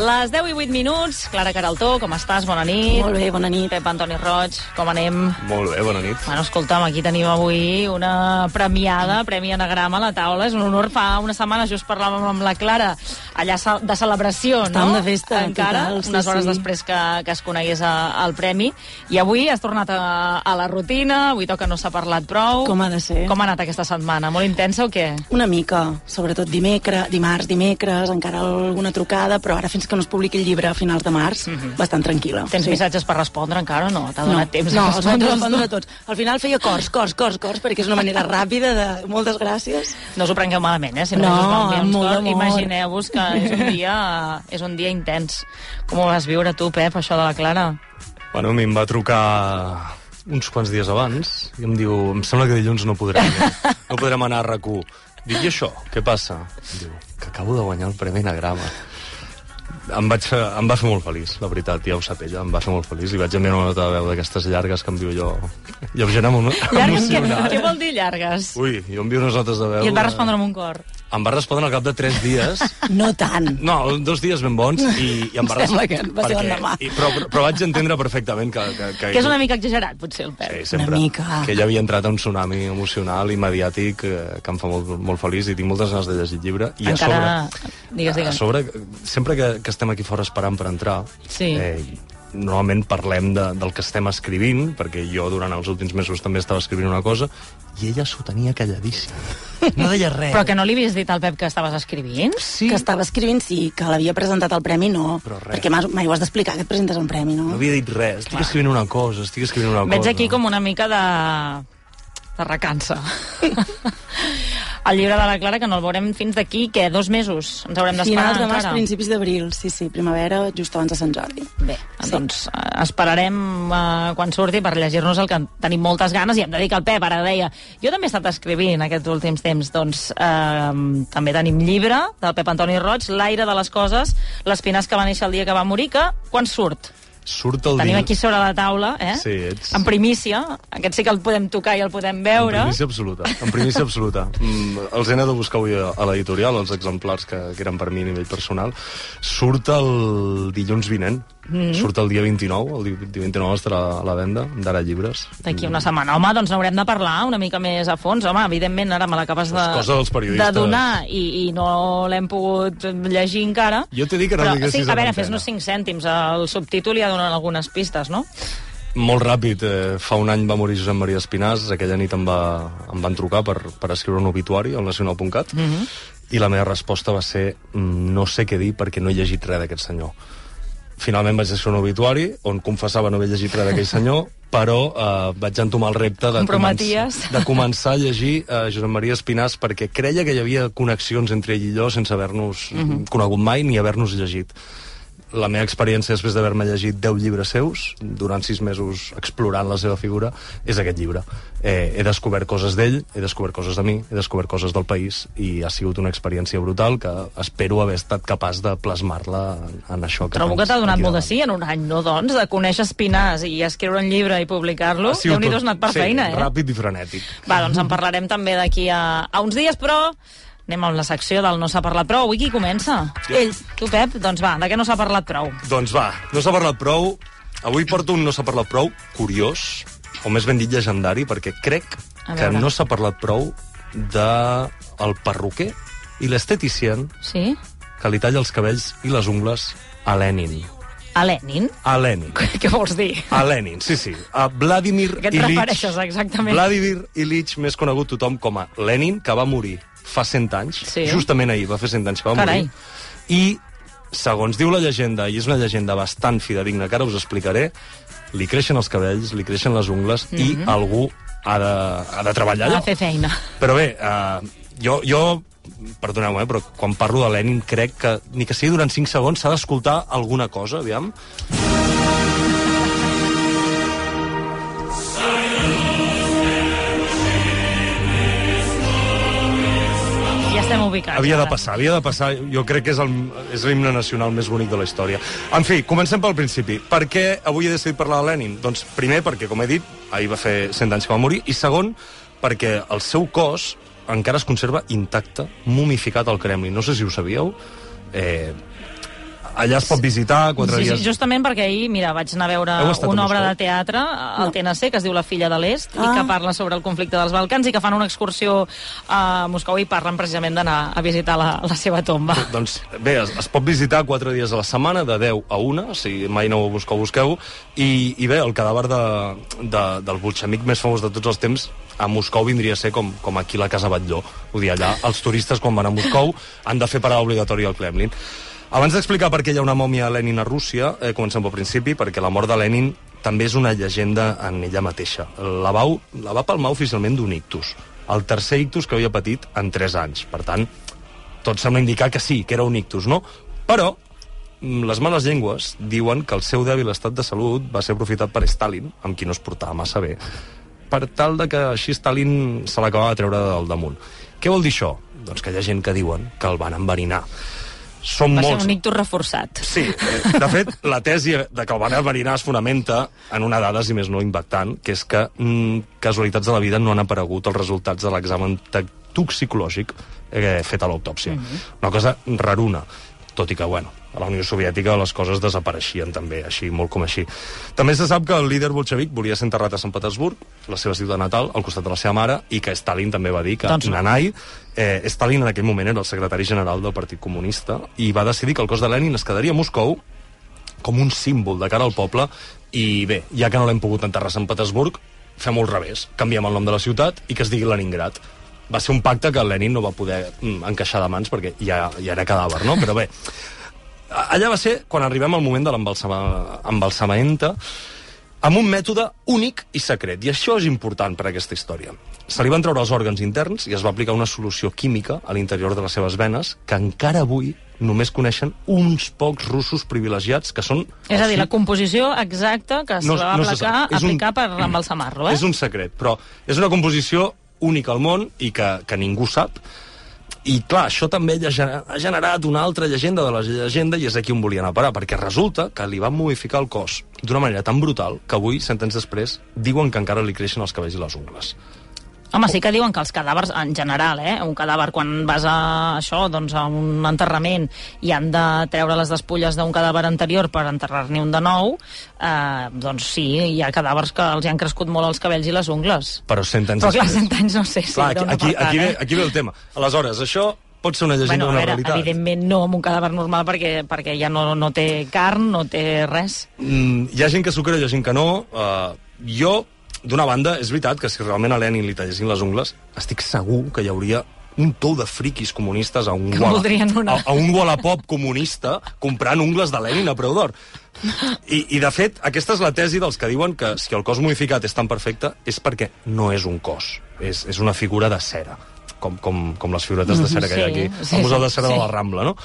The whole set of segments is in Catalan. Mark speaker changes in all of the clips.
Speaker 1: Les 10 i 8 minuts. Clara Caraltó, com estàs? Bona nit.
Speaker 2: Molt bé, bona nit.
Speaker 1: Pep Antoni Roig, com anem?
Speaker 3: Molt bé, bona nit.
Speaker 1: Bueno, escolta'm, aquí tenim avui una premiada, Premi Anagrama a la taula. És un honor. Fa una setmana just parlàvem amb la Clara, allà ce- de celebració,
Speaker 2: Estàvem
Speaker 1: no?
Speaker 2: de festa,
Speaker 1: Encara,
Speaker 2: total, sí,
Speaker 1: unes hores
Speaker 2: sí.
Speaker 1: després que, que es conegués a, el premi. I avui has tornat a, a la rutina, avui toca No s'ha parlat prou.
Speaker 2: Com ha de ser.
Speaker 1: Com ha anat aquesta setmana? Molt intensa o què?
Speaker 2: Una mica, sobretot dimecres, dimarts, dimecres, encara alguna trucada, però ara fins que no es publiqui el llibre a finals de març, bastant tranquil·la.
Speaker 1: Tens missatges per respondre encara o no? T'ha
Speaker 2: No,
Speaker 1: donat temps
Speaker 2: no,
Speaker 1: de
Speaker 2: els vaig
Speaker 1: respondre.
Speaker 2: respondre tots. Al final feia cors, cors, cors, cors, perquè és una manera ràpida de... Moltes gràcies.
Speaker 1: No us ho prengueu malament, eh? Si
Speaker 2: No,
Speaker 1: només us va enviar uns
Speaker 2: amb molt
Speaker 1: cors,
Speaker 2: d'amor.
Speaker 1: Imagineu-vos que és un, dia, és un dia intens. Com ho vas viure tu, Pep, això de la Clara?
Speaker 3: Bueno, a mi em va trucar uns quants dies abans i em diu, em sembla que dilluns no podrem, eh? no podrem anar a RAC1. Dic, i això? Què passa? Em diu, que acabo de guanyar el Premi Nagrama. Em, vaig, fer- em va fer molt feliç, la veritat, ja ho sap ella, em va fer molt feliç. I vaig enviar una nota de veu d'aquestes llargues que em diu jo... Lleugera emo-
Speaker 1: Llargues, què, què
Speaker 3: emocionada.
Speaker 1: vol dir llargues?
Speaker 3: Ui, jo envio unes notes de veu...
Speaker 1: I et
Speaker 3: eh,
Speaker 1: va respondre amb un cor.
Speaker 3: Em va respondre al cap de tres dies
Speaker 2: No tant.
Speaker 3: No, dos dies ben bons i, i em va
Speaker 2: Em sembla que va ser l'endemà.
Speaker 3: I, però, però vaig entendre perfectament que... Que,
Speaker 1: Que és una mica exagerat, potser, el Pep.
Speaker 3: Sí, sempre.
Speaker 2: Una mica.
Speaker 3: Que ella havia entrat a un tsunami emocional i mediàtic eh, que em fa molt, molt feliç i tinc moltes ganes de llegir el llibre. I
Speaker 1: Encara-
Speaker 3: a sobre, Ah,
Speaker 1: digues, digues.
Speaker 3: A sobre, sempre que, que estem aquí fora esperant per entrar, eh,
Speaker 1: Sí.
Speaker 3: normalment parlem de, del que estem escrivint, perquè jo durant els últims mesos també estava escrivint una cosa, i ella s'ho tenia calladíssima. No deia res.
Speaker 1: Però que no li havies dit al Pep que estaves escrivint?
Speaker 3: Sí,
Speaker 2: Que estava escrivint, sí, que l'havia presentat al premi, no.
Speaker 3: Però res.
Speaker 2: Perquè mai, mai ho has d'explicar, que et presentes a un premi, no?
Speaker 3: no havia dit res. Estic escrivint una cosa, estic escrivint una
Speaker 1: Veig
Speaker 3: cosa.
Speaker 1: aquí com una mica de... de recança. el llibre de la Clara, que no el veurem fins d'aquí, què, dos mesos? Ens haurem d'esperar
Speaker 2: Finals de març,
Speaker 1: encara?
Speaker 2: principis d'abril, sí, sí, primavera, just abans de Sant Jordi.
Speaker 1: Bé, sí. doncs eh, esperarem eh, quan surti per llegir-nos el que en tenim moltes ganes i hem de dir que el Pep ara deia jo també he estat escrivint aquests últims temps doncs eh, també tenim llibre del Pep Antoni Roig, L'aire de les coses l'Espinàs que va néixer el dia que va morir que quan surt?
Speaker 3: Surt el
Speaker 1: Tenim
Speaker 3: dia...
Speaker 1: aquí sobre la taula eh?
Speaker 3: Sí, ets-
Speaker 1: en primícia, aquest sí que el podem tocar i el podem veure
Speaker 3: En primícia absoluta. En primícia absoluta. Mm, els he anat a buscar avui a a l'editorial, els exemplars que, que eren per mi a nivell personal. Surt el dilluns vinent. Mm -hmm. Surt el dia 29. El di- dia 29 estarà a la venda d'ara llibres.
Speaker 1: d'aquí una setmana. Home, doncs n'haurem de parlar una mica més a fons. Home, evidentment, ara me l'acabes de,
Speaker 3: És cosa dels
Speaker 1: de
Speaker 3: periodistes.
Speaker 1: donar i, i no l'hem pogut llegir encara.
Speaker 3: Jo t'he dit que no
Speaker 1: Però,
Speaker 3: diguessis
Speaker 1: sí, a
Speaker 3: en
Speaker 1: veure,
Speaker 3: antena.
Speaker 1: fes-nos 5 cèntims. El subtítol ja donen algunes pistes, no?
Speaker 3: Molt ràpid. Eh, fa un any va morir Josep Maria Espinàs. Aquella nit em, va, em van trucar per, per escriure un obituari al nacional.cat. Mm -hmm. I la meva resposta va ser "Mm, no sé què dir perquè no he llegit res d'aquest senyor. Finalment vaig deixar un obituari on confessava no haver llegit res d'aquell senyor, però eh, vaig entomar el repte de,
Speaker 1: Comprometies.
Speaker 3: de començar a llegir eh, Josep Maria Espinàs perquè creia que hi havia connexions entre ell i jo sense haver-nos mm -hmm. conegut mai ni haver-nos llegit la meva experiència després d'haver-me llegit 10 llibres seus, durant 6 mesos explorant la seva figura, és aquest llibre. Eh, he descobert coses d'ell, he descobert coses de mi, he descobert coses del país i ha sigut una experiència brutal que espero haver estat capaç de plasmar-la en, en això que
Speaker 1: Trobo
Speaker 3: tens
Speaker 1: que t'ha donat
Speaker 3: doncs, aquí
Speaker 1: molt de
Speaker 3: davant.
Speaker 1: sí en un any, no, doncs? De conèixer Espinàs i escriure un llibre i publicar-lo.
Speaker 3: Ha sigut
Speaker 1: Déu-n'hi-do,
Speaker 3: tot-
Speaker 1: has anat per
Speaker 3: sí,
Speaker 1: feina, eh?
Speaker 3: ràpid i frenètic.
Speaker 1: Va, doncs en parlarem també d'aquí a, a uns dies, però anem amb la secció del No s'ha parlat prou. Avui qui comença?
Speaker 2: Ells.
Speaker 1: Tu, Pep? Doncs va, de què no s'ha parlat prou?
Speaker 3: Doncs va, no s'ha parlat prou. Avui porto un no s'ha parlat prou curiós, o més ben dit llegendari, perquè crec
Speaker 1: A
Speaker 3: que
Speaker 1: veure.
Speaker 3: no s'ha parlat prou de el perruquer i l'esteticien
Speaker 1: Sí?
Speaker 3: que li talla els cabells i les ungles a Lenin.
Speaker 1: A Lenin?
Speaker 3: A Lenin.
Speaker 1: Què vols dir?
Speaker 3: A Lenin, sí, sí. A Vladimir
Speaker 1: A què et
Speaker 3: Ilyich-
Speaker 1: refereixes exactament?
Speaker 3: Vladimir Ilyich, més conegut tothom com a Lenin, que va morir fa 100 anys,
Speaker 1: Sí.
Speaker 3: justament ahir va fer 100 anys que va
Speaker 1: Carai.
Speaker 3: morir, i, segons diu la llegenda, i és una llegenda bastant fidedigna, que ara us explicaré, li creixen els cabells, li creixen les ungles, i
Speaker 1: Mhm.
Speaker 3: algú ha de, ha de
Speaker 1: A
Speaker 3: treballar allò.
Speaker 1: fer feina.
Speaker 3: Però bé, uh, jo, jo perdoneu-me, eh, però quan parlo de Lenin crec que, ni que sigui durant 5 segons, s'ha d'escoltar alguna cosa, aviam.
Speaker 1: Ja estem ubicats.
Speaker 3: Havia de
Speaker 1: ara.
Speaker 3: passar, havia de passar. Jo crec que és el- és l'himne nacional més bonic de la història. En fi, comencem pel principi. Per què avui he decidit parlar de Lenin? Doncs primer perquè, com he dit, ahir va fer 100 anys que va morir, i segon perquè el seu cos encara es conserva intacte, mumificat al Kremlin. No sé si ho sabíeu. Eh, allà es pot visitar quatre
Speaker 1: Sí, sí,
Speaker 3: dies.
Speaker 1: justament perquè ahir, mira, vaig anar a veure
Speaker 3: Heu estat a
Speaker 1: una obra
Speaker 3: Moscou?
Speaker 1: de teatre al
Speaker 2: No.
Speaker 1: TNC, que es diu La filla de l'Est, i
Speaker 2: Ah.
Speaker 1: que parla sobre el conflicte dels Balcans, i que fan una excursió a Moscou i parlen precisament d'anar a visitar la, la seva tomba.
Speaker 3: Doncs bé, es, es pot visitar quatre dies a la setmana, de 10 a 1, si mai no ho busqueu, busqueu. I, i bé, el cadàver de, de, del bolxemic més famós de tots els temps a Moscou vindria a ser com, com aquí la Casa Batlló. Vull dir, allà els turistes quan van a Moscou han de fer parada obligatòria al Kremlin. Abans d'explicar per què hi ha una mòmia a Lenin a Rússia, eh, comencem pel principi, perquè la mort de Lenin també és una llegenda en ella mateixa. La, vau, la va palmar oficialment d'un ictus, el tercer ictus que havia patit en 3 anys. Per tant, tot sembla indicar que sí, que era un ictus, no? Però mm, les males llengües diuen que el seu dèbil estat de salut va ser aprofitat per Stalin, amb qui no es portava massa bé, per tal de que així Stalin se l'acabava de treure del damunt. Què vol dir això? Doncs que hi ha gent que diuen que el van enverinar. Són
Speaker 1: Va ser
Speaker 3: molts...
Speaker 1: un ictus reforçat.
Speaker 3: Sí, eh, de fet, la tesi de que el van enverinar es fonamenta en una dada, si més no, impactant, que és que mm, casualitats de la vida no han aparegut els resultats de l'examen te- toxicològic eh, fet a l'autòpsia. Una cosa raruna, tot i que, bueno, a la Unió Soviètica les coses desapareixien també, així, molt com així. També se sap que el líder bolxevic volia ser enterrat a Sant Petersburg, la seva ciutat natal, al costat de la seva mare, i que Stalin també va dir que
Speaker 1: Doncs
Speaker 3: doncs
Speaker 1: no.
Speaker 3: Nanay, eh, Stalin en aquell moment era el secretari general del Partit Comunista i va decidir que el cos de Lenin es quedaria a Moscou com un símbol de cara al poble i bé, ja que no l'hem pogut enterrar a Sant Petersburg, fem al revés, canviem el nom de la ciutat i que es digui Leningrad. Va ser un pacte que Lenin no va poder mm, encaixar de mans perquè ja, ja era cadàver, no? Però bé, allà va ser quan arribem al moment de l'embalsamamenta amb un mètode únic i secret. I això és important per a aquesta història. Se li van treure els òrgans interns i es va aplicar una solució química a l'interior de les seves venes que encara avui només coneixen uns pocs russos privilegiats que són...
Speaker 1: És a dir,
Speaker 3: els
Speaker 1: la composició exacta que es
Speaker 3: No-
Speaker 1: va
Speaker 3: no se
Speaker 1: aplicar,
Speaker 3: sap. És un-
Speaker 1: aplicar per embalsamar-lo, eh?
Speaker 3: És un secret, però és una composició única al món i que, que ningú sap. I clar, això també ja gener- ha generat una altra llegenda de la llegenda i és aquí on volia anar a parar, perquè resulta que li van modificar el cos d'una manera tan brutal que avui, cent anys després, diuen que encara li creixen els cabells i les ungles.
Speaker 1: Home, sí que diuen que els cadàvers, en general, eh, un cadàver, quan vas a això, doncs a un enterrament i han de treure les despulles d'un cadàver anterior per enterrar-ne un de nou, eh, doncs sí, hi ha cadàvers que els hi han crescut molt els cabells i les ungles.
Speaker 3: Però cent anys
Speaker 1: Però clar,
Speaker 3: després...
Speaker 1: 100 anys no sé si
Speaker 3: clar,
Speaker 1: era una
Speaker 3: aquí, aquí,
Speaker 1: apartat,
Speaker 3: aquí, ve,
Speaker 1: eh?
Speaker 3: aquí ve el tema. Aleshores, això pot ser una llegenda
Speaker 1: Bueno,
Speaker 3: o
Speaker 1: a
Speaker 3: una
Speaker 1: veure,
Speaker 3: realitat.
Speaker 1: evidentment no amb un cadàver normal perquè, perquè ja no, no té carn, no té res.
Speaker 3: Mm, hi ha gent que s'ho creu, hi ha gent que no. Uh, jo, d'una banda, és veritat que si realment a Lenin li tallessin les ungles, estic segur que hi hauria un tou de friquis comunistes a un,
Speaker 1: Que
Speaker 3: Walla-
Speaker 1: voldrien una.
Speaker 3: a, a un Wallapop comunista comprant ungles de Lenin a preu d'or. I, I, de fet, aquesta és la tesi dels que diuen que si el cos modificat és tan perfecte és perquè no és un cos, és, és una figura de cera, com, com, com les figuretes de cera que hi ha
Speaker 1: Mm, Sí,
Speaker 3: aquí,
Speaker 1: sí,
Speaker 3: el Museu de
Speaker 1: sí,
Speaker 3: Cera de
Speaker 1: sí.
Speaker 3: la Rambla, no?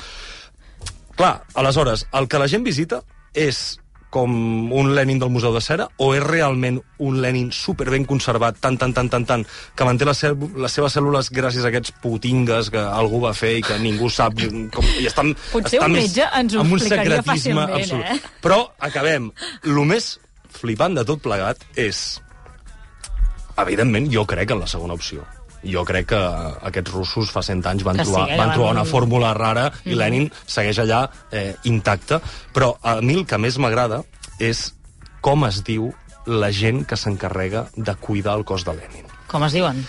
Speaker 3: Clar, aleshores, el que la gent visita és com un Lenin del Museu de Cera o és realment un Lenin superben conservat, tan, tan, tan, tan, tan, que manté les, cel les seves cèl·lules gràcies a aquests putingues que algú va fer i que ningú sap com... I estan,
Speaker 1: Potser
Speaker 3: estan
Speaker 1: un
Speaker 3: més-
Speaker 1: metge ens ho
Speaker 3: amb un
Speaker 1: explicaria
Speaker 3: secretisme
Speaker 1: fàcilment,
Speaker 3: absolut.
Speaker 1: eh?
Speaker 3: Però acabem. Lo més flipant de tot plegat és... Evidentment, jo crec en la segona opció. Jo crec que eh, aquests russos fa 100 anys van,
Speaker 1: Que sí,
Speaker 3: trobar,
Speaker 1: que
Speaker 3: van
Speaker 1: van-
Speaker 3: trobar una fórmula rara i Lenin segueix allà eh, intacte. Però a mi el que més m'agrada és com es diu la gent que s'encarrega de cuidar el cos de Lenin
Speaker 1: Com es diuen?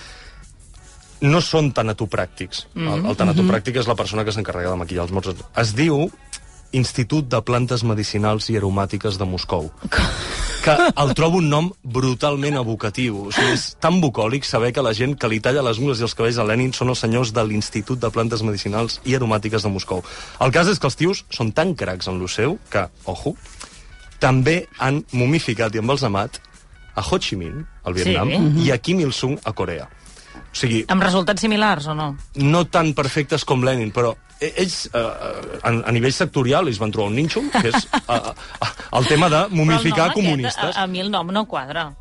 Speaker 3: no són tanatopràctics. Mm -hmm. El,
Speaker 1: Mhm.
Speaker 3: el tanatopràctic és la persona que s'encarrega de maquillar els morts. Es diu Institut de Plantes Medicinals i Aromàtiques de Moscou. Que el trobo un nom brutalment evocatiu. O sigui, és tan bucòlic saber que la gent que li talla les ungles i els cabells a Lenin són els senyors de l'Institut de Plantes Medicinals i Aromàtiques de Moscou. El cas és que els tios són tan cracs en lo seu que, ojo, també han momificat i embalsamat a Ho Chi Minh, al
Speaker 1: Sí.
Speaker 3: Vietnam,
Speaker 1: Mhm.
Speaker 3: i a Kim Il-sung, a Corea. O sigui,
Speaker 1: Amb resultats similars o no?
Speaker 3: no tan perfectes com Lenin, però e- ells, eh, eh, a, a nivell sectorial, ells van trobar un ninxo, que és eh, eh, el tema de
Speaker 1: Però el nom
Speaker 3: momificar
Speaker 1: aquest, eh,
Speaker 3: comunistes.
Speaker 1: a, a mi el nom no quadra.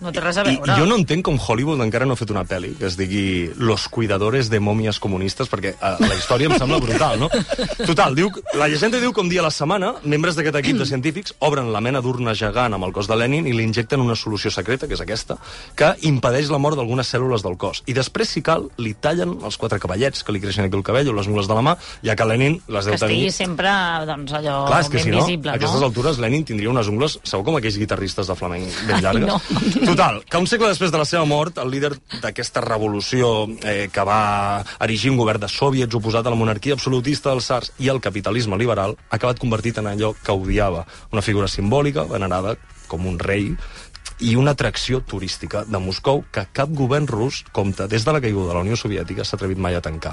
Speaker 1: No té res a
Speaker 3: I,
Speaker 1: veure.
Speaker 3: jo no entenc com Hollywood encara no ha fet una pel·li que es digui Los cuidadores de mòmies comunistes, perquè eh, la història em sembla brutal, no? Total, diu, la llegenda diu que un dia a la setmana membres d'aquest equip de científics obren la mena d'urna gegant amb el cos de Lenin i li injecten una solució secreta, que és aquesta, que impedeix la mort d'algunes cèl·lules del cos. I després, si cal, li tallen els quatre cavallets que li creixen aquí al cabell o les mules de la mà, ja que Lenin les
Speaker 1: Que
Speaker 3: deu tenir...
Speaker 1: estigui sempre, doncs, allò
Speaker 3: Clar, és que
Speaker 1: ben
Speaker 3: si no,
Speaker 1: visible,
Speaker 3: a aquestes
Speaker 1: no?
Speaker 3: altures Lenin tindria unes ungles, segur com aquells guitarristes de flamenc ben
Speaker 1: Ai,
Speaker 3: llargues.
Speaker 1: no.
Speaker 3: Total, que un segle després de la seva mort, el líder d'aquesta revolució eh, que va erigir un govern de soviets oposat a la monarquia absolutista dels sars i al capitalisme liberal, ha acabat convertit en allò que odiava, una figura simbòlica, venerada com un rei, i una atracció turística de Moscou que cap govern rus, compte, des de la caiguda de la Unió Soviètica, s'ha atrevit mai a tancar.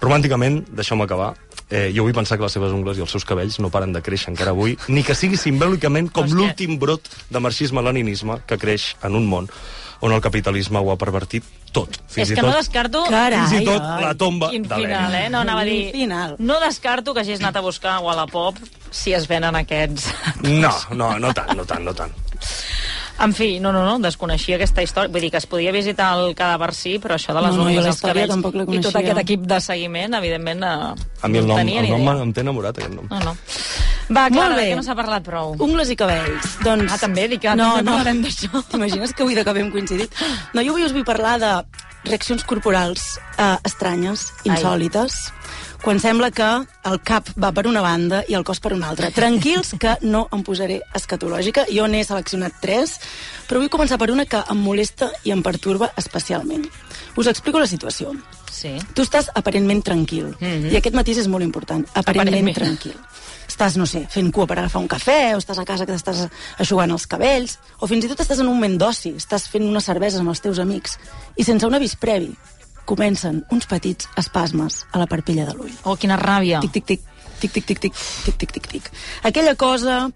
Speaker 3: Romànticament, deixeu-me acabar, eh, jo vull pensar que les seves ungles i els seus cabells no paren de créixer encara avui, ni que sigui simbòlicament com
Speaker 1: Hòstia.
Speaker 3: l'últim brot de marxisme-leninisme que creix en un món on el capitalisme ho ha pervertit tot.
Speaker 1: és que
Speaker 3: i tot,
Speaker 1: no descarto...
Speaker 2: Carai,
Speaker 3: fins i tot
Speaker 2: ai.
Speaker 3: la tomba
Speaker 1: Quin
Speaker 3: de
Speaker 1: final,
Speaker 3: Lenin.
Speaker 1: eh? No, anava a dir...
Speaker 2: Quin final.
Speaker 1: No descarto que hagis anat a buscar a la pop si es venen aquests...
Speaker 3: No, no, no tant, no tant, no tant.
Speaker 1: En fi, no, no, no, desconeixia aquesta història. Vull dir que es podia visitar el cadàver sí, però això de les
Speaker 2: No, no, jo
Speaker 1: ungles
Speaker 2: la
Speaker 1: als
Speaker 2: història tampoc la
Speaker 1: cabells i tot
Speaker 2: coneixia.
Speaker 1: aquest equip de seguiment, evidentment, eh,
Speaker 3: A mi el
Speaker 1: no
Speaker 3: nom,
Speaker 1: en tenia
Speaker 3: el
Speaker 1: ni
Speaker 3: nom
Speaker 1: idea. Ah,
Speaker 3: em té enamorat, aquest nom.
Speaker 1: No, no. Va, Clara,
Speaker 2: Molt bé.
Speaker 1: de què no s'ha parlat prou?
Speaker 2: Ungles i cabells. Doncs...
Speaker 1: Ah, també, dic que també parlem d'això.
Speaker 2: T'imagines que avui d'acabem coincidit? No, jo avui us vull parlar de reaccions corporals eh, estranyes,
Speaker 1: Ai.
Speaker 2: insòlites, quan sembla que el cap va per una banda i el cos per una altra. Tranquils, que no em posaré escatològica. Jo n'he seleccionat tres, però vull començar per una que em molesta i em perturba especialment. Us explico la situació.
Speaker 1: Sí.
Speaker 2: Tu estàs aparentment tranquil.
Speaker 1: Mhm.
Speaker 2: I aquest matís és molt important. Aparentment,
Speaker 1: Aparentment.
Speaker 2: aparentment. tranquil. Estàs, no sé, fent cua per agafar un cafè, o estàs a casa que t'estàs aixugant els cabells, o fins i tot estàs en un moment d'oci, estàs fent unes cerveses amb els teus amics, i sense un avís previ comencen uns petits espasmes a la parpella de l'ull.
Speaker 1: Oh, quina ràbia.
Speaker 2: Tic, tic, tic, tic, tic, tic, tic, tic, tic, tic, tic. Aquella cosa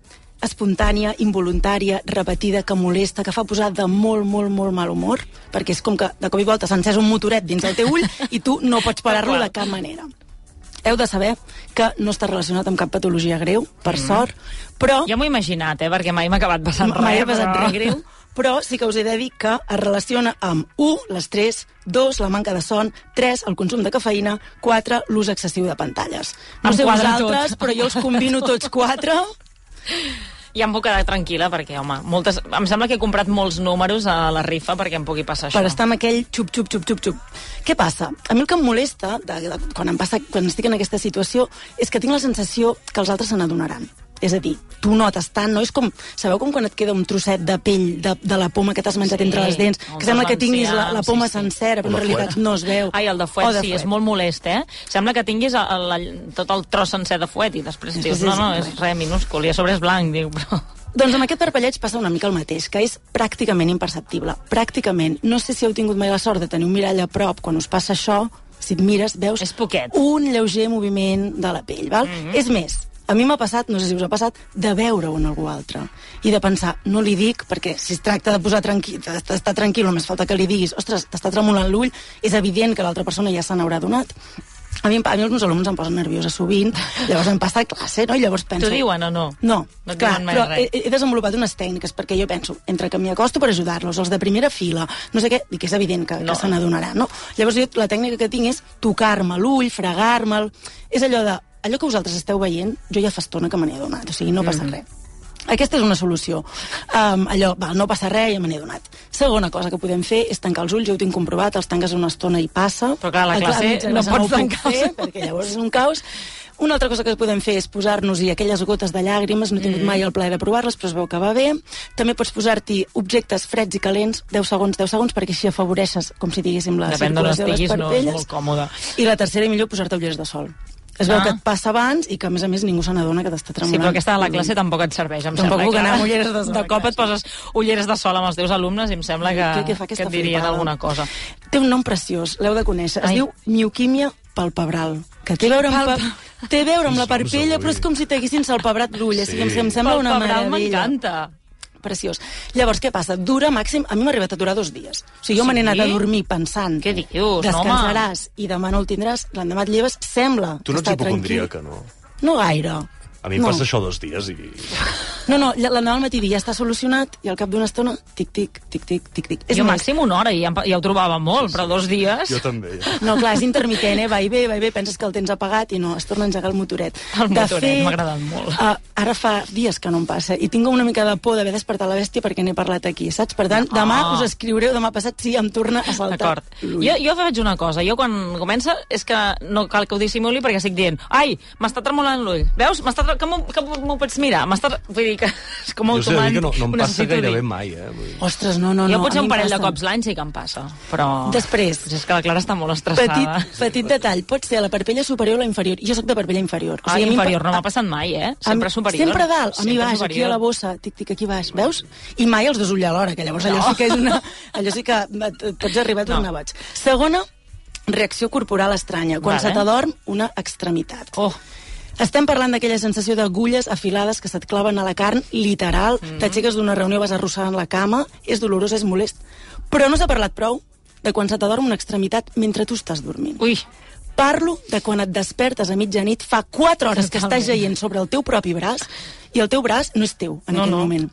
Speaker 2: espontània, involuntària, repetida, que molesta, que fa posar de molt, molt, molt mal humor, perquè és com que de cop i volta s'ha encès un motoret dins del teu ull i tu no pots parar-lo de cap manera. Heu de saber que no està relacionat amb cap patologia greu, per sort, però...
Speaker 1: Ja m'ho he imaginat, eh, perquè mai m'ha acabat passant res.
Speaker 2: Mai ha passat
Speaker 1: però-
Speaker 2: res greu, però sí que us he de dir que es relaciona amb 1, l'estrès, 2, la manca de son, 3, el consum de cafeïna, 4, l'ús excessiu de pantalles. No
Speaker 1: Em
Speaker 2: sé
Speaker 1: quadra
Speaker 2: vosaltres,
Speaker 1: tot.
Speaker 2: però jo els combino tots quatre.
Speaker 1: Ja em puc quedar tranquil·la, perquè, home, moltes... em sembla que he comprat molts números a la rifa perquè em pugui passar això.
Speaker 2: per estar amb aquell xup, xup, xup, xup, xup. Què passa? A mi el que em molesta de, de, quan, em passa, quan estic en aquesta situació és que tinc la sensació que els altres se n'adonaran. És a dir, tu notes tant, no és com... Sabeu com quan et queda un trosset de pell de, de la poma que t'has menjat
Speaker 1: Sí,
Speaker 2: entre les dents?
Speaker 1: o
Speaker 2: Que sembla
Speaker 1: de
Speaker 2: que tinguis la, la
Speaker 1: l'enciam,
Speaker 2: poma
Speaker 1: sí, sí.
Speaker 2: sencera, però
Speaker 3: O
Speaker 2: en
Speaker 3: de
Speaker 2: realitat
Speaker 3: fuet.
Speaker 2: no es veu.
Speaker 1: Ai, el de fuet,
Speaker 2: O
Speaker 1: sí, és
Speaker 2: fuet.
Speaker 1: molt molest, eh? Sembla que tinguis el, el, tot el tros sencer de fuet i després
Speaker 2: Després
Speaker 1: dius, no,
Speaker 2: és
Speaker 1: no,
Speaker 2: res.
Speaker 1: és res minúscul, i a sobre és blanc, diu, però...
Speaker 2: Doncs amb aquest parpelleig passa una mica el mateix, que és pràcticament imperceptible. Pràcticament. No sé si heu tingut mai la sort de tenir un mirall a prop quan us passa això, si et mires veus
Speaker 1: És poquet. Mhm.
Speaker 2: un lleuger moviment de la pell, val? Mm -hmm. És més, a mi m'ha passat, no sé si us ha passat, de veure-ho en algú altre i de pensar, no li dic, perquè si es tracta de posar tranquil, d'estar tranquil, només falta que li diguis, ostres, t'està tremolant l'ull, és evident que l'altra persona ja se n'haurà donat. A mi, em- a mi els meus alumnes em posen nerviosa sovint, llavors em passa a classe, no? I llavors penso...
Speaker 1: T'ho diuen o no?
Speaker 2: No,
Speaker 1: No et
Speaker 2: clar,
Speaker 1: diuen mai
Speaker 2: però eh,
Speaker 1: res.
Speaker 2: he, he desenvolupat unes tècniques, perquè jo penso, entre que m'hi acosto per ajudar-los, els de primera fila, no sé què, i que és evident que,
Speaker 1: No.
Speaker 2: no. que se n'adonarà, no? Llavors jo la tècnica que tinc és tocar-me l'ull, fregar-me'l, és allò de, allò que vosaltres esteu veient, jo ja fa estona que me n'he adonat, o sigui, no passa
Speaker 1: Mm.
Speaker 2: res. Aquesta és una solució. Um, allò, val, no passa res, ja me n'he donat. Segona cosa que podem fer és tancar els ulls, jo ho tinc comprovat, els tanques una estona i passa.
Speaker 1: Però clar, a la
Speaker 2: Ah,
Speaker 1: classe
Speaker 2: a mitja
Speaker 1: no
Speaker 2: classe
Speaker 1: pots
Speaker 2: ho puc
Speaker 1: tancar els
Speaker 2: fer,
Speaker 1: ulls.
Speaker 2: perquè llavors és un caos. Una altra cosa que podem fer és posar-nos-hi aquelles gotes de llàgrimes, no he
Speaker 1: Mm.
Speaker 2: tingut mai el plaer de provar-les, però es veu que va bé. També pots posar-t'hi objectes freds i calents, 10 segons, 10 segons, perquè així afavoreixes, com si diguéssim, la
Speaker 1: Depèn d'on
Speaker 2: circulació de les
Speaker 1: estiguis, no és
Speaker 2: parpelles.
Speaker 1: molt còmode.
Speaker 2: I la tercera i millor, posar-te ulleres de sol. Es veu
Speaker 1: Ah.
Speaker 2: que et passa abans i que, a més a més, ningú se n'adona que t'està tremolant. Mm.
Speaker 1: Sí, però aquesta de la classe tampoc et serveix, em
Speaker 2: Tampoc
Speaker 1: sembla.
Speaker 2: puc
Speaker 1: clar.
Speaker 2: anar amb ulleres de sol,
Speaker 1: De cop
Speaker 2: clar.
Speaker 1: et poses ulleres de sol amb els teus alumnes i em sembla que,
Speaker 2: Què- què fa
Speaker 1: que,
Speaker 2: aquesta
Speaker 1: et dirien
Speaker 2: flipada?
Speaker 1: alguna cosa.
Speaker 2: Té un nom preciós, l'heu de conèixer. Es
Speaker 1: Ai.
Speaker 2: Ai. diu mioquímia palpebral, que té a veure amb, pa... té a veure amb la
Speaker 3: Uns noms
Speaker 2: parpella,
Speaker 3: avui.
Speaker 2: però és com si t'haguessin salpebrat l'ull, sí.
Speaker 3: Sí.
Speaker 2: així que em- em sembla una
Speaker 1: Palpebral
Speaker 2: meravella.
Speaker 1: m'encanta.
Speaker 2: Preciós. Llavors, què passa? Dura màxim... A mi m'ha arribat a durar dos dies. O sigui, jo me n'he
Speaker 1: Ah, Sí?
Speaker 2: anat a dormir pensant...
Speaker 1: Què dius, home?
Speaker 2: Descansaràs i demà no el tindràs, l'endemà et lleves, sembla
Speaker 3: Tu no
Speaker 2: que
Speaker 3: ets
Speaker 2: està tranquil.
Speaker 3: hipocondríaca, no?
Speaker 2: No gaire.
Speaker 3: A mi em
Speaker 2: No.
Speaker 3: passa això dos dies i...
Speaker 2: No, no, ll- l'anar al matí i dir, ja està solucionat, i al cap d'una estona, tic-tic, tic-tic, tic-tic. És
Speaker 1: Jo
Speaker 2: més,
Speaker 1: màxim una hora, i ja, em- ja ho trobava molt, però dos dies...
Speaker 3: Jo també.
Speaker 2: No, clar, és intermitent, eh? Va i ve, va i ve, penses que el tens apagat i no, es torna a engegar el motoret.
Speaker 1: El
Speaker 2: De
Speaker 1: motoret,
Speaker 2: fet,
Speaker 1: m'ha agradat molt.
Speaker 2: Uh, ara fa dies que no em passa i tinc una mica de por d'haver despertat la bèstia perquè n'he parlat aquí, saps? Per tant, demà
Speaker 1: Ah.
Speaker 2: us escriureu, demà passat, si em torna a saltar.
Speaker 1: D'acord. Jo, jo faig una cosa. Jo quan comença és que no cal que ho dissimuli perquè estic dient ai, m'està tremolant l'ull. Veus? M'està tre- Que m'ho- que m'ho m'ho pots mirar. M'està... tre- Vull dir que és com
Speaker 3: Jo us he de dir
Speaker 1: automàtic.
Speaker 3: que no, no
Speaker 1: ho
Speaker 3: em passa
Speaker 1: necessito
Speaker 3: gairebé
Speaker 1: dir.
Speaker 3: mai, eh? Vull dir,
Speaker 2: Ostres, no, no, no.
Speaker 1: jo potser
Speaker 2: a mi
Speaker 1: un
Speaker 2: em
Speaker 1: parell de
Speaker 2: passa.
Speaker 1: cops l'any sí que em passa, però...
Speaker 2: Després.
Speaker 1: És que la Clara està molt estressada.
Speaker 2: Petit, petit detall, pot ser a la parpella superior o la inferior. Jo sóc de parpella inferior.
Speaker 1: Ah,
Speaker 2: a mi em pa-
Speaker 1: inferior, no
Speaker 2: a-
Speaker 1: m'ha passat mai, eh?
Speaker 2: a mi-
Speaker 1: Sempre superior.
Speaker 2: Sempre dalt, a mi
Speaker 1: Sempre
Speaker 2: baix,
Speaker 1: superior.
Speaker 2: aquí a la bossa, tic, tic, aquí baix, veus? I mai els dos ull alhora, que llavors allò
Speaker 1: No.
Speaker 2: sí que és una... Allò sí que et- et pots arribar a tornar
Speaker 1: No.
Speaker 2: no. boig. Segona, reacció corporal estranya. Quan
Speaker 1: Vale.
Speaker 2: se t'adorm, una extremitat.
Speaker 1: Oh,
Speaker 2: Estem parlant d'aquella sensació d'agulles afilades que se't claven a la carn, literal,
Speaker 1: Mm.
Speaker 2: t'aixeques d'una reunió, vas arrossegant la cama, és dolorós, és molest. Però no s'ha parlat prou de quan se t'adorm una extremitat mentre tu estàs dormint.
Speaker 1: ui,
Speaker 2: Parlo de quan et despertes a mitjanit, fa 4 hores que
Speaker 1: Totalment.
Speaker 2: estàs jaient sobre el teu propi braç i el teu braç no és teu en
Speaker 1: No,
Speaker 2: aquell
Speaker 1: no.
Speaker 2: moment.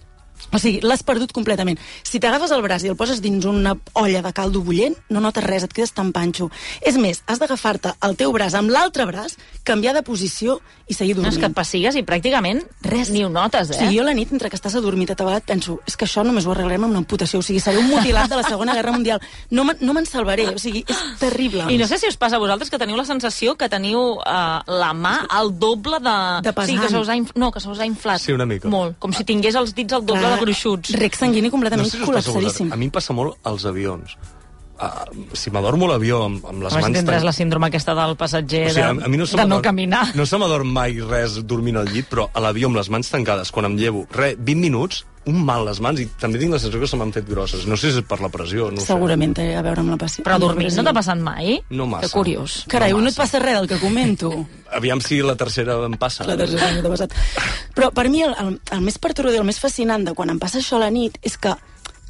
Speaker 2: O sigui, l'has perdut completament. Si t'agafes el braç i el poses dins una olla de caldo bullent, no notes res, et quedes tan panxo. És més, has d'agafar-te el teu braç amb l'altre braç, canviar de posició i seguir
Speaker 1: no, és
Speaker 2: dormint.
Speaker 1: que et pessigues i pràcticament res. ni ho notes,
Speaker 2: O
Speaker 1: eh?
Speaker 2: sigui, jo a la nit, mentre que estàs adormit atabalat, penso, és que això només ho arreglarem amb una amputació, o sigui, seré un mutilat de la Segona Guerra Mundial. No me'n no me'n salvaré, o sigui, és terrible.
Speaker 1: I no sé si us passa a vosaltres que teniu la sensació que teniu uh, la mà al doble de...
Speaker 2: De pesant.
Speaker 1: Sí, que se us ha, inf... no, que se us ha inflat.
Speaker 3: Sí, una mica.
Speaker 1: Molt, com si tingués els dits al doble
Speaker 2: Clar,
Speaker 1: de gruixuts.
Speaker 2: Rec sanguini
Speaker 3: No
Speaker 2: completament
Speaker 3: sé si us passa a vosaltres.
Speaker 2: col·lapsadíssim.
Speaker 3: A mi em passa molt als avions. Uh, si m'adormo a l'avió amb, amb les
Speaker 1: Home, si
Speaker 3: mans...
Speaker 1: tindràs
Speaker 3: tan-
Speaker 1: la síndrome aquesta del passatger
Speaker 3: O sigui, a,
Speaker 1: de,
Speaker 3: a mi no se
Speaker 1: de no
Speaker 3: m'adorm-
Speaker 1: caminar.
Speaker 3: No se m'adorm mai res dormint al llit, però a l'avió amb les mans tancades, quan em llevo, re, 20 minuts, un mal a les mans, i també tinc la sensació que se m'han fet grosses. No sé si és per la pressió, no ho
Speaker 2: Segurament té a veure amb la passió.
Speaker 1: Però dormint no t'ha passat mai?
Speaker 3: No massa.
Speaker 1: Que curiós.
Speaker 2: Carai,
Speaker 3: No
Speaker 2: no, no et
Speaker 3: massa.
Speaker 2: passa res del que comento.
Speaker 3: sé. Aviam si la tercera em passa.
Speaker 2: La tercera no t'ha passat. Però per mi el, el, el més perturbador, el més fascinant de quan em passa això a la nit és que,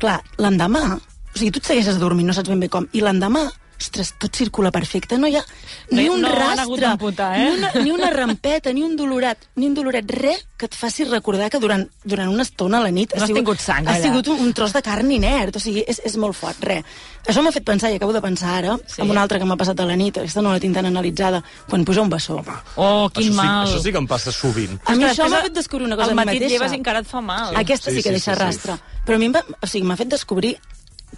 Speaker 2: clar, l'endemà... O sigui, tu et segueixes dormint, no saps ben bé com, i l'endemà, ostres, tot circula perfecte, no hi ha ni
Speaker 1: No-
Speaker 2: un
Speaker 1: no han
Speaker 2: rastre,
Speaker 1: hagut d'amputar, eh?
Speaker 2: ni, una, ni una rampeta, ni un dolorat, ni un doloret, res que et faci recordar que durant, durant una estona a la nit
Speaker 1: No has tingut sang
Speaker 2: ha
Speaker 1: allà.
Speaker 2: sigut un, un tros de carn inert, o sigui, és, és molt fort, res. Això m'ha fet pensar, i acabo de pensar ara,
Speaker 1: Sí.
Speaker 2: sí. amb una altra que m'ha passat a la nit, aquesta no la tinc tan analitzada, quan puja un bessó.
Speaker 1: Oh, quin
Speaker 3: això
Speaker 1: mal.
Speaker 3: Sí, això sí que em passa sovint.
Speaker 2: A
Speaker 1: Ostres,
Speaker 2: mi això
Speaker 1: després
Speaker 2: m'ha fet descobrir una cosa
Speaker 1: Al
Speaker 2: a mi
Speaker 1: matí et
Speaker 2: mateixa.
Speaker 1: lleves i encara et fa mal.
Speaker 2: Aquesta sí,
Speaker 3: Sí,
Speaker 2: que
Speaker 3: sí,
Speaker 2: deixa
Speaker 3: sí, sí.
Speaker 2: rastre. Però a mi em va, o sigui, m'ha fet descobrir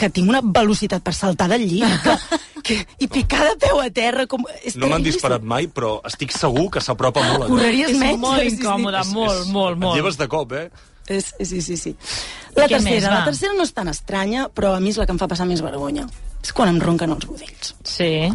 Speaker 2: que tinc una velocitat per saltar del llit que, que, i picar de peu a terra. Com, és
Speaker 3: No m'han
Speaker 2: terriblíssim.
Speaker 3: disparat mai, però estic segur que s'apropa molt. allò.
Speaker 2: Correria
Speaker 1: és
Speaker 2: dies menys,
Speaker 1: molt
Speaker 2: sí, sí, sí.
Speaker 1: incòmode, molt, molt, molt.
Speaker 3: Et lleves de cop, eh?
Speaker 2: És, és- sí, sí, sí. La
Speaker 1: Què més,
Speaker 2: tercera,
Speaker 1: va?
Speaker 2: la tercera no és tan estranya, però a mi és la que em fa passar més vergonya. És quan em ronquen els budells.
Speaker 1: Sí.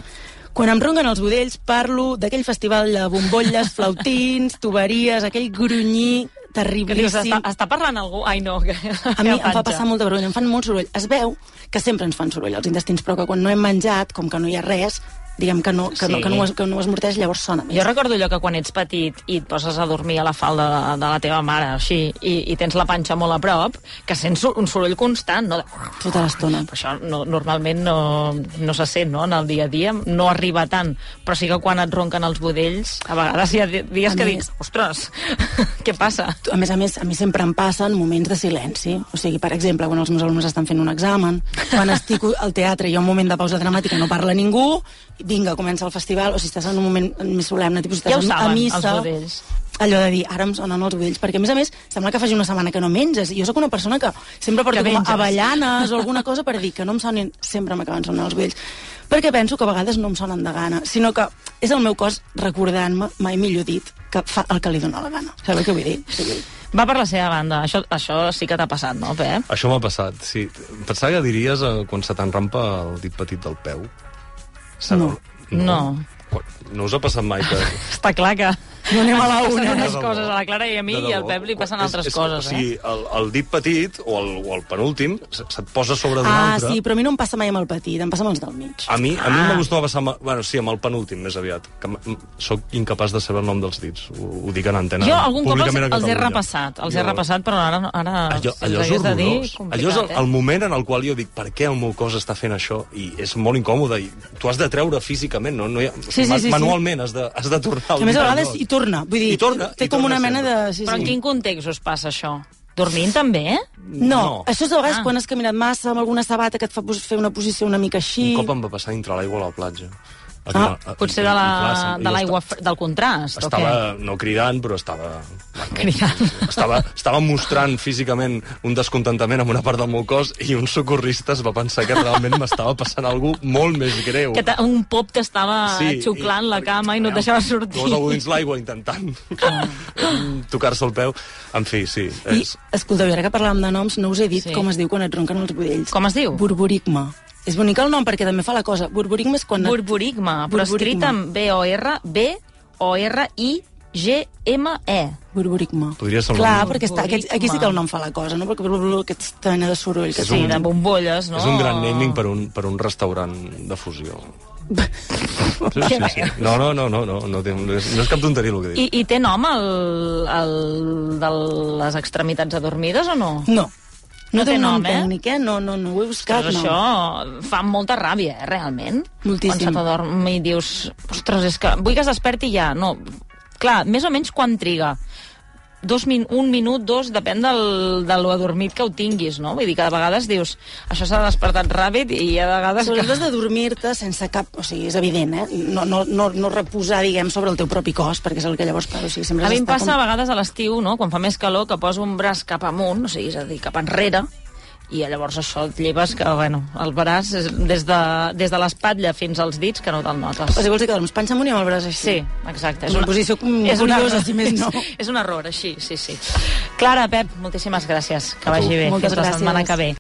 Speaker 2: Quan em ronquen els budells parlo d'aquell festival de bombolles, flautins, tuberies, aquell grunyir
Speaker 1: Que dius,
Speaker 2: terriblíssim.
Speaker 1: està, està parlant algú? Ai, no. Que,
Speaker 2: A mi em fa passar molt de vergonya, em fan molt soroll. Es veu que sempre ens fan soroll els intestins, però que quan no hem menjat, com que no hi ha res, diguem que no, que,
Speaker 1: Sí.
Speaker 2: no, que, no, es- que no esmorteix, llavors sona més.
Speaker 1: Jo recordo allò que quan ets petit i et poses a dormir a la falda de, de la teva mare, així, i, i tens la panxa molt a prop, que sents so- un soroll constant, no? De...
Speaker 2: Tota l'estona.
Speaker 1: Però això no, normalment no, no se sent, no?, en el dia a dia, no arriba tant, però sí que quan et ronquen els budells, a vegades hi ha di- dies
Speaker 2: A
Speaker 1: que
Speaker 2: mi-
Speaker 1: dius, ostres, què passa?
Speaker 2: A més a més, a mi sempre em passen moments de silenci. O sigui, per exemple, quan els meus alumnes estan fent un examen, quan estic al teatre i hi ha un moment de pausa dramàtica, no parla ningú, vinga, comença el festival, o si estàs en un moment més solemne, tipus, si
Speaker 1: Ja ho
Speaker 2: estàs
Speaker 1: saben,
Speaker 2: a
Speaker 1: els
Speaker 2: missa...
Speaker 1: budells.
Speaker 2: allò de dir, ara em sonen els budells, perquè a més a més sembla que faci una setmana que no menges, i jo sóc una persona que sempre porto
Speaker 1: Que
Speaker 2: com
Speaker 1: menges.
Speaker 2: avellanes o alguna cosa per dir que no em sonin, sempre m'acaben sonant els budells, perquè penso que a vegades no em sonen de gana, sinó que és el meu cos recordant-me, mai millor dit, que fa el que li dóna la gana. Sabeu què vull dir? Sí.
Speaker 1: Va per la seva banda, això, això sí que t'ha passat, no, Pep?
Speaker 3: Això m'ha passat, sí. Pensava que diries eh, quan se t'enrampa el dit petit del peu. Saps?
Speaker 2: No.
Speaker 1: No.
Speaker 3: Quan- No us ha passat mai que...
Speaker 1: Està clar que...
Speaker 2: No anem a la
Speaker 1: Ens
Speaker 2: una.
Speaker 1: passen
Speaker 3: De
Speaker 1: unes
Speaker 3: debò.
Speaker 1: coses a la Clara i a mi
Speaker 3: De
Speaker 1: i al
Speaker 3: debò.
Speaker 1: Pep li passen
Speaker 3: És-
Speaker 1: altres
Speaker 3: és-
Speaker 1: coses, eh?
Speaker 3: O sigui, el, el dit petit o el, o el penúltim se- se't posa sobre d'un
Speaker 2: Ah,
Speaker 3: altre.
Speaker 2: sí, però a mi no em passa mai amb el petit, em passa amb els del mig.
Speaker 3: A mi, a mi
Speaker 1: Ah.
Speaker 3: m'acostuma a passar... Amb, bueno, sí, amb el penúltim, més aviat. Que m- m- soc incapaç de saber el nom dels dits. Ho, ho dic en antena.
Speaker 1: Jo algun cop els,
Speaker 3: públicament a
Speaker 1: els he
Speaker 3: Catalunya.
Speaker 1: repassat, els he
Speaker 3: Jo-
Speaker 1: repassat, però ara... ara
Speaker 3: Allò,
Speaker 1: si
Speaker 3: allò
Speaker 1: els
Speaker 3: és
Speaker 1: hagués de dir,
Speaker 3: horrorós. Allò és el,
Speaker 1: complicat, eh?
Speaker 3: el moment en el qual jo dic per què el meu cos està fent això i és molt incòmode i tu has de treure físicament, no? no hi ha,
Speaker 2: sí, sí, sí.
Speaker 3: manualment has de, has de tornar al
Speaker 2: A més, a
Speaker 3: dia,
Speaker 2: vegades
Speaker 3: no?
Speaker 2: hi torna. Vull dir,
Speaker 3: I torna,
Speaker 2: té
Speaker 3: i
Speaker 2: com
Speaker 3: torna
Speaker 2: una mena de...
Speaker 3: sempre.
Speaker 2: Sí,
Speaker 1: Però en
Speaker 2: sí.
Speaker 1: quin context us passa això? Dormint, també?
Speaker 2: No, no, això és de vegades
Speaker 1: Ah.
Speaker 2: ah. quan has caminat massa amb alguna sabata que et fa pos- fer una posició una mica així.
Speaker 3: Un cop em va passar dintre l'aigua a la platja.
Speaker 2: Ah,
Speaker 3: Aquí, a- a-
Speaker 1: Potser de
Speaker 3: i- i
Speaker 1: la-
Speaker 3: clar,
Speaker 1: de
Speaker 3: jo
Speaker 1: l'aigua,
Speaker 3: esta-
Speaker 1: de del contrast,
Speaker 3: Estava,
Speaker 1: o
Speaker 3: no cridant, però estava... bueno,
Speaker 1: Cridant.
Speaker 3: Estava, estava mostrant físicament un descontentament amb una part del meu cos i un socorrista es va pensar que realment m'estava passant algú molt més greu.
Speaker 1: què? Que ta- un pop t'estava sí, xuclant la cama i no et deixava sortir.
Speaker 3: Dos algú dins l'aigua intentant tocar-se el peu. En fi, sí.
Speaker 2: I,
Speaker 3: És...
Speaker 2: escolteu, i ara que parlàvem de noms, no us he dit
Speaker 1: Sí.
Speaker 2: sí. com es diu quan et ronquen els budells.
Speaker 1: Com es diu?
Speaker 2: Borborigma. És bonic el nom perquè també fa la cosa. Borborigma és quan... et-
Speaker 1: Borborigma, però escrit
Speaker 2: Borborigma.
Speaker 1: amb B-O-R-B-O-R-I-G-M-E.
Speaker 2: Borborigma.
Speaker 3: Podria ser un
Speaker 2: Clar,
Speaker 3: nom.
Speaker 2: perquè està, aquest, aquí sí que el nom fa la cosa, no? Perquè blu, blu, blu, aquesta mena de soroll que
Speaker 1: Sí, de bombolles, no?
Speaker 3: És un gran naming per un, per un restaurant de fusió. Sí, sí, sí. No, no, no, no, no, no, té, no, és, no és cap tonteria el que dic.
Speaker 1: I, I té nom el, el de les extremitats adormides o no?
Speaker 2: No. No,
Speaker 1: No té
Speaker 2: té un
Speaker 1: nom, eh?
Speaker 2: tècnic, eh? No, no, no ho he buscat,
Speaker 1: Ostres,
Speaker 2: no.
Speaker 1: això fa molta ràbia, eh, realment.
Speaker 2: Moltíssim.
Speaker 1: Quan se t'adorm i dius, ostres, és que vull que es desperti ja. No, clar, més o menys quan triga? Dos min, un minut, dos, depèn del, de lo adormit que ho tinguis, no? Vull dir que de vegades dius, això s'ha despertat ràpid i hi ha vegades
Speaker 2: Sobretot
Speaker 1: que...
Speaker 2: has de dormir-te sense cap... O sigui, és evident, eh? No, no, no, no reposar, diguem, sobre el teu propi cos, perquè és el que llavors... Clar, o sigui, sempre
Speaker 1: A
Speaker 2: has
Speaker 1: mi em
Speaker 2: d'estar
Speaker 1: passa a vegades a l'estiu, no? quan fa més calor, que poso un braç cap amunt, o sigui, és a dir, cap enrere, i llavors això et lleves que, bueno, el braç és des de, des de l'espatlla fins als dits que no te'l notes.
Speaker 2: O sigui, vols dir que dorms panxa amunt i amb el braç així?
Speaker 1: Sí, exacte.
Speaker 2: Una posició com curiosa, si més no.
Speaker 1: És, és un error, així, sí, sí. Clara, Pep, moltíssimes gràcies. Que
Speaker 3: A tu.
Speaker 1: vagi bé.
Speaker 2: Moltes
Speaker 1: Fins la setmana
Speaker 2: gràcies.
Speaker 1: que ve.